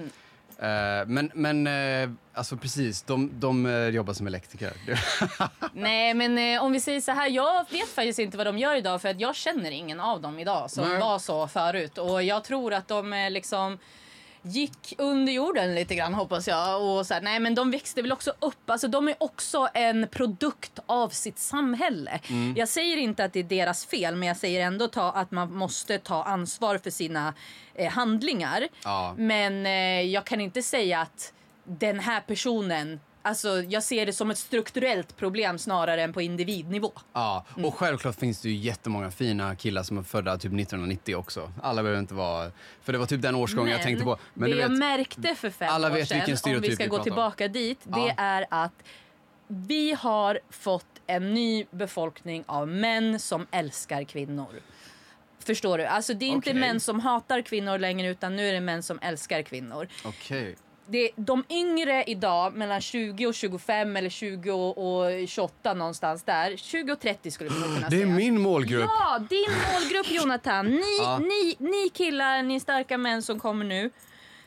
Eh, men, men eh, alltså precis, de, de eh, jobbar som elektriker. [laughs]
Nej, men eh, om vi säger så här. Jag vet faktiskt inte vad de gör idag för att jag känner ingen av dem idag som
Nej.
var så förut. Och jag tror att de eh, liksom gick under jorden lite grann hoppas jag. Och så här, nej men de växte väl också upp. Alltså de är också en produkt av sitt samhälle. Jag säger inte att det är deras fel men jag säger ändå ta, att man måste ta ansvar för sina eh, handlingar.
Ja.
Men eh, jag kan inte säga att den här personen Alltså jag ser det som ett strukturellt problem snarare än på individnivå.
ja, och
Mm.
självklart finns det ju jättemånga fina killar som är födda typ 1990 också. Alla behöver inte vara... För det var typ den årsgången jag tänkte på. Men
det
du
jag
vet,
märkte för fem
alla
år
vet vilken
sedan, om
stereotyp
vi ska
vi
gå
pratar om.
tillbaka dit, det
Ja.
är att vi har fått en ny befolkning av män som älskar kvinnor. Förstår du? Alltså det är inte
Okej.
män som hatar kvinnor längre utan nu är det män som älskar kvinnor.
Okej.
Alltså, det, de yngre idag, mellan 20 och 25 eller 20 och 28 någonstans där. 20 och 30 skulle man kunna
Det är
säga.
min målgrupp.
Ja, din målgrupp Jonathan. Ni,
Ja.
ni, ni killar, ni starka män som kommer nu.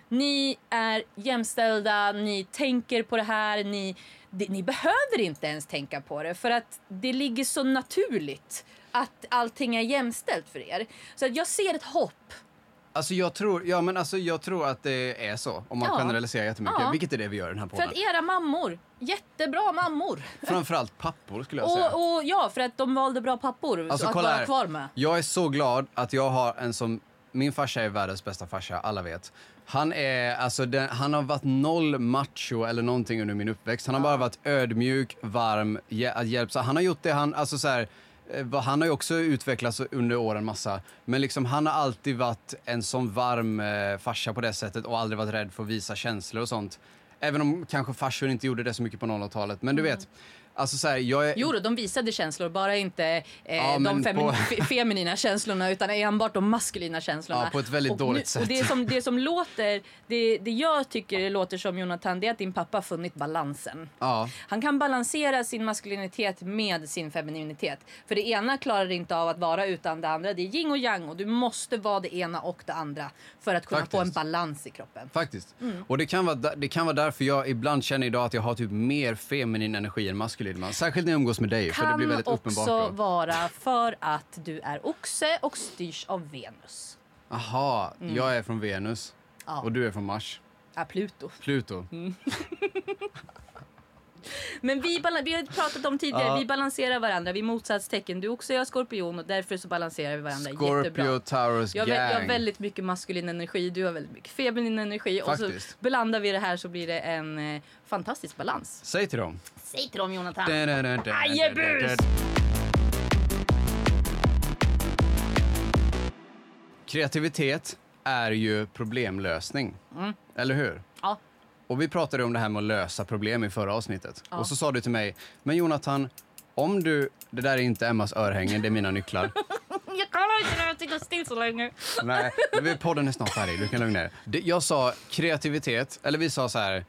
Ni är jämställda, ni tänker på det här, ni, det, ni behöver inte ens tänka på det för att det ligger så naturligt att allting är jämställt för er. Så att jag ser ett hopp.
Alltså jag tror, ja, men alltså jag tror att det är så, om man
Ja.
generaliserar jättemycket,
Ja.
vilket är det vi gör i den här
För
podden.
att era mammor, jättebra mammor.
Framförallt pappor skulle jag säga.
Och, och ja, för att de valde bra pappor
Alltså,
att
kolla
vara
här.
kvar med.
Jag är så glad att jag har en som... Min farsa är världens bästa farsa, alla vet. Han, är, alltså, den, han har varit noll macho eller någonting under min uppväxt. Han har bara varit ödmjuk, varm, hjä, hjälpsam. Han har gjort det han... Alltså, så här, eh, vad- han har ju också utvecklats under åren massa. Men liksom, han har alltid varit en sån varm eh, farsa på det sättet och aldrig varit rädd för att visa känslor och sånt. Även om kanske farsor inte gjorde det så mycket på 00-talet. Men du vet, alltså så här, jag är...
Mm. Jo, då, de visade känslor, bara inte eh, de
men
femi-
på-
fe- feminina känslorna utan enbart de maskulina känslorna.
Ja, på ett väldigt
och
dåligt
Och
sätt.
det, som, det som låter, det, det jag tycker det låter som Jonathan, det är att din pappa har funnit balansen.
Ja.
Han kan balansera sin maskulinitet med sin femininitet. För det ena klarar inte av att vara utan det andra. Det är yin och yang och du måste vara det ena och det andra för att kunna få en
Faktiskt.
balans i kroppen.
Faktiskt.
Mm.
Och det kan, vara, da- det kan vara därför jag ibland känner idag att jag har typ mer feminin energi än maskulin. Man. Särskilt när jag umgås med dig, för det blir
Kan
väldigt uppenbart
också
då.
vara för att du är oxe och styrs av Venus.
Aha, jag är från Venus
Mm. Ja. Mm,
och du är från Mars.
Ja, Pluto.
Pluto.
Men vi, bala- vi har pratat om tidigare,
Ja.
vi balanserar varandra. Vi är motsatstecken. Du också, jag är skorpion och därför så balanserar vi varandra
Scorpio
jättebra.
Taurus
Jag har,
Gang.
vä- jag har väldigt mycket maskulin energi, du har väldigt mycket feminin energi. Och så
Faktiskt.
blandar vi det här så blir det en eh, fantastisk balans.
Säg till dem.
Säg till dem Jonathan! Ajebus!
Ajebus! Kreativitet är ju problemlösning. Eller hur?
Mm. Ja.
Och vi pratade om det här med att lösa problem i förra avsnittet. Och så sa du till mig, men Jonathan, om du... Det där är inte Emmas örhängen, det är mina nycklar.
Jag kan inte när jag sitter still så länge.
Nej, men vi- podden är snart färdig, du kan lugna dig. Det- Jag sa kreativitet, eller vi sa så här...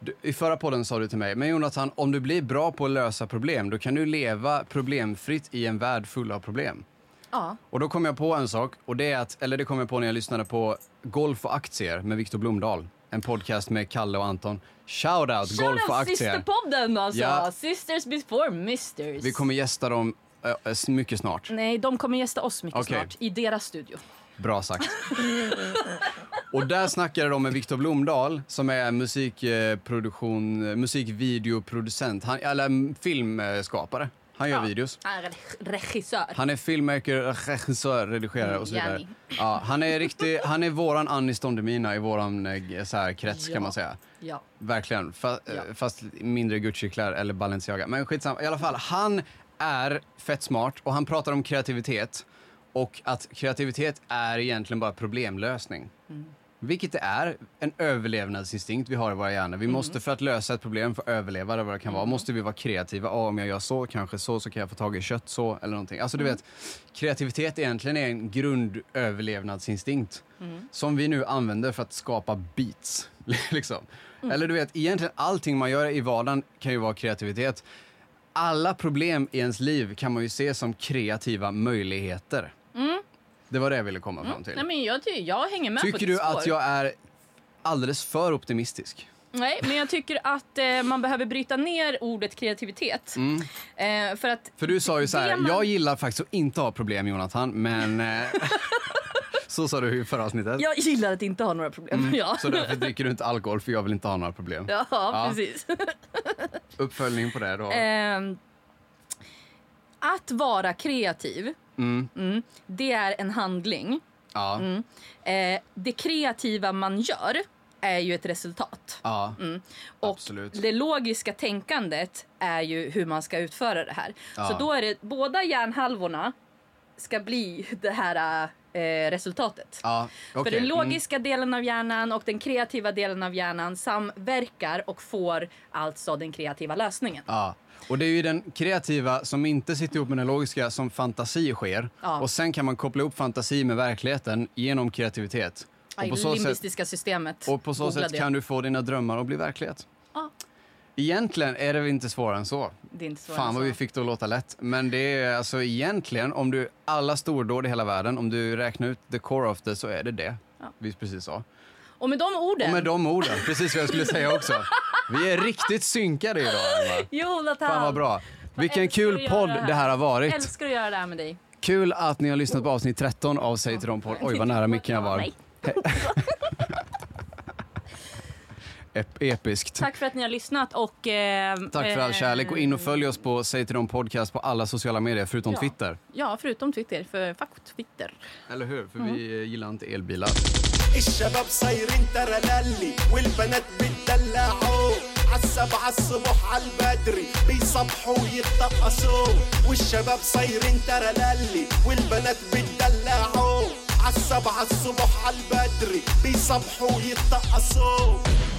du- I förra podden sa du till mig, men Jonathan, om du blir bra på att lösa problem, då kan du leva problemfritt i en värld full av problem.
Ja.
Och då kom jag på en sak, och det är att, eller det kom jag på när jag lyssnade på Golf och aktier med Viktor Blomdahl. En podcast med Kalle och Anton. Shout out Golf och
Shoutout
aktier!
systerpodden alltså!
Ja.
Sisters before misters.
Vi kommer gästa dem eh, eh, mycket snart.
Nej, de kommer gästa oss mycket
Okej.
snart i deras studio.
Bra sagt. Och där snackade de med Viktor Blomdahl som är musikproduktion, musikvideoproducent, han, eller mm, filmskapare. Han gör videos.
Han är Äh, regissör.
Han är filmmaker, regissör, redigerare och så vidare.
Jenny.
Ja, han är riktig, han är våran Anis Don Demina i våran eh, så här, krets
Ja.
kan man säga.
Ja.
Verkligen. Fa-
Ja.
eh, Fast mindre Gucci-kläder eller Balenciaga. Men skitsamma. I alla fall, han är fett smart och han pratar om kreativitet. Och att kreativitet är egentligen bara problemlösning. Vilket det är, en överlevnadsinstinkt vi har i våra hjärnor. Vi
Mm.
måste för att lösa ett problem, för att överleva eller vad det kan vara, måste vi vara kreativa. Ah, om jag gör så, kanske så, så kan jag få tag i kött så eller någonting. Alltså
Mm.
du vet, kreativitet egentligen är en grundöverlevnadsinstinkt
Mm.
som vi nu använder för att skapa beats. [laughs] liksom.
Mm.
Eller du vet, egentligen allting man gör i vardagen kan ju vara kreativitet. Alla problem i ens liv kan man ju se som kreativa möjligheter. Det var det jag ville komma fram till.
Mm. Nej, men jag, ty- jag hänger med på
Tycker
ditt
du att
spår.
jag är alldeles för optimistisk?
Nej, men jag tycker att eh, man behöver bryta ner ordet kreativitet.
Mm.
Eh, för att
För du sa ju så
Det
här,
man-
jag gillar faktiskt att inte ha problem Jonathan, men...
[laughs]
eh, så sa du i förra avsnittet.
jag gillar att inte ha några problem. [laughs] Ja.
Mm. Så därför dricker du inte alkohol, för jag vill inte ha några problem.
ja,
Ja.
precis.
Uppföljning på det då.
Ehm, att vara kreativ, mm, det är en handling.
ja.
Eh, det kreativa man gör är ju ett resultat.
ja.
Och
Absolut.
det logiska tänkandet är ju hur man ska utföra det här. Så
Ja.
då är det båda hjärnhalvorna ska bli det här eh, resultatet.
ja. okej.
För den
Mm.
logiska delen av hjärnan och den kreativa delen av hjärnan samverkar och får alltså den kreativa lösningen.
Ja. Och det är ju den kreativa som inte sitter ihop med den logiska som fantasi sker.
Ja.
Och sen kan man koppla ihop fantasi med verkligheten genom kreativitet.
I
Och
det
på så sätt,
limbistiska systemet.
och på så
Googla
sätt
det.
kan du få dina drömmar att bli verklighet.
Ja.
Egentligen är det väl inte svårare än så.
Det är inte svårare än
Fan vad
så.
vi fick det att låta lätt. Men det är alltså egentligen, om du, alla stordåd i hela världen, om du räknar ut the core of det så är det det. Vi precis sa.
Och med de orden
Och med de orden, precis vad jag skulle säga också. Vi är riktigt synkade idag. Alma.
Jonathan!
Fan vad bra. Vilken
älskar att
kul
göra
podd
det här.
det här har
Jag
varit.
älskar att göra det här med dig.
Kul att ni har lyssnat på avsnitt 13 av Säg till dem podd. Oj, vad nära micken jag var.
Nej.
[laughs] Ep- episkt.
Tack för att ni har lyssnat och... Eh,
Tack för all kärlek. Gå in och följ oss på Säg till dem podcast på alla sociala medier förutom
Ja.
Twitter.
Ja, förutom Twitter. För fuck Twitter.
Eller hur? För vi eh, gillar inte elbilar.
الشباب صايرين ترللي والبنات بتدلعوا عالسبعة الصبح عالبدري بيصبحوا ويتطقسوا والشباب صايرين ترللي والبنات بتدلعوا عالسبعة الصبح عالبدري بيصبحوا ويتطقسوا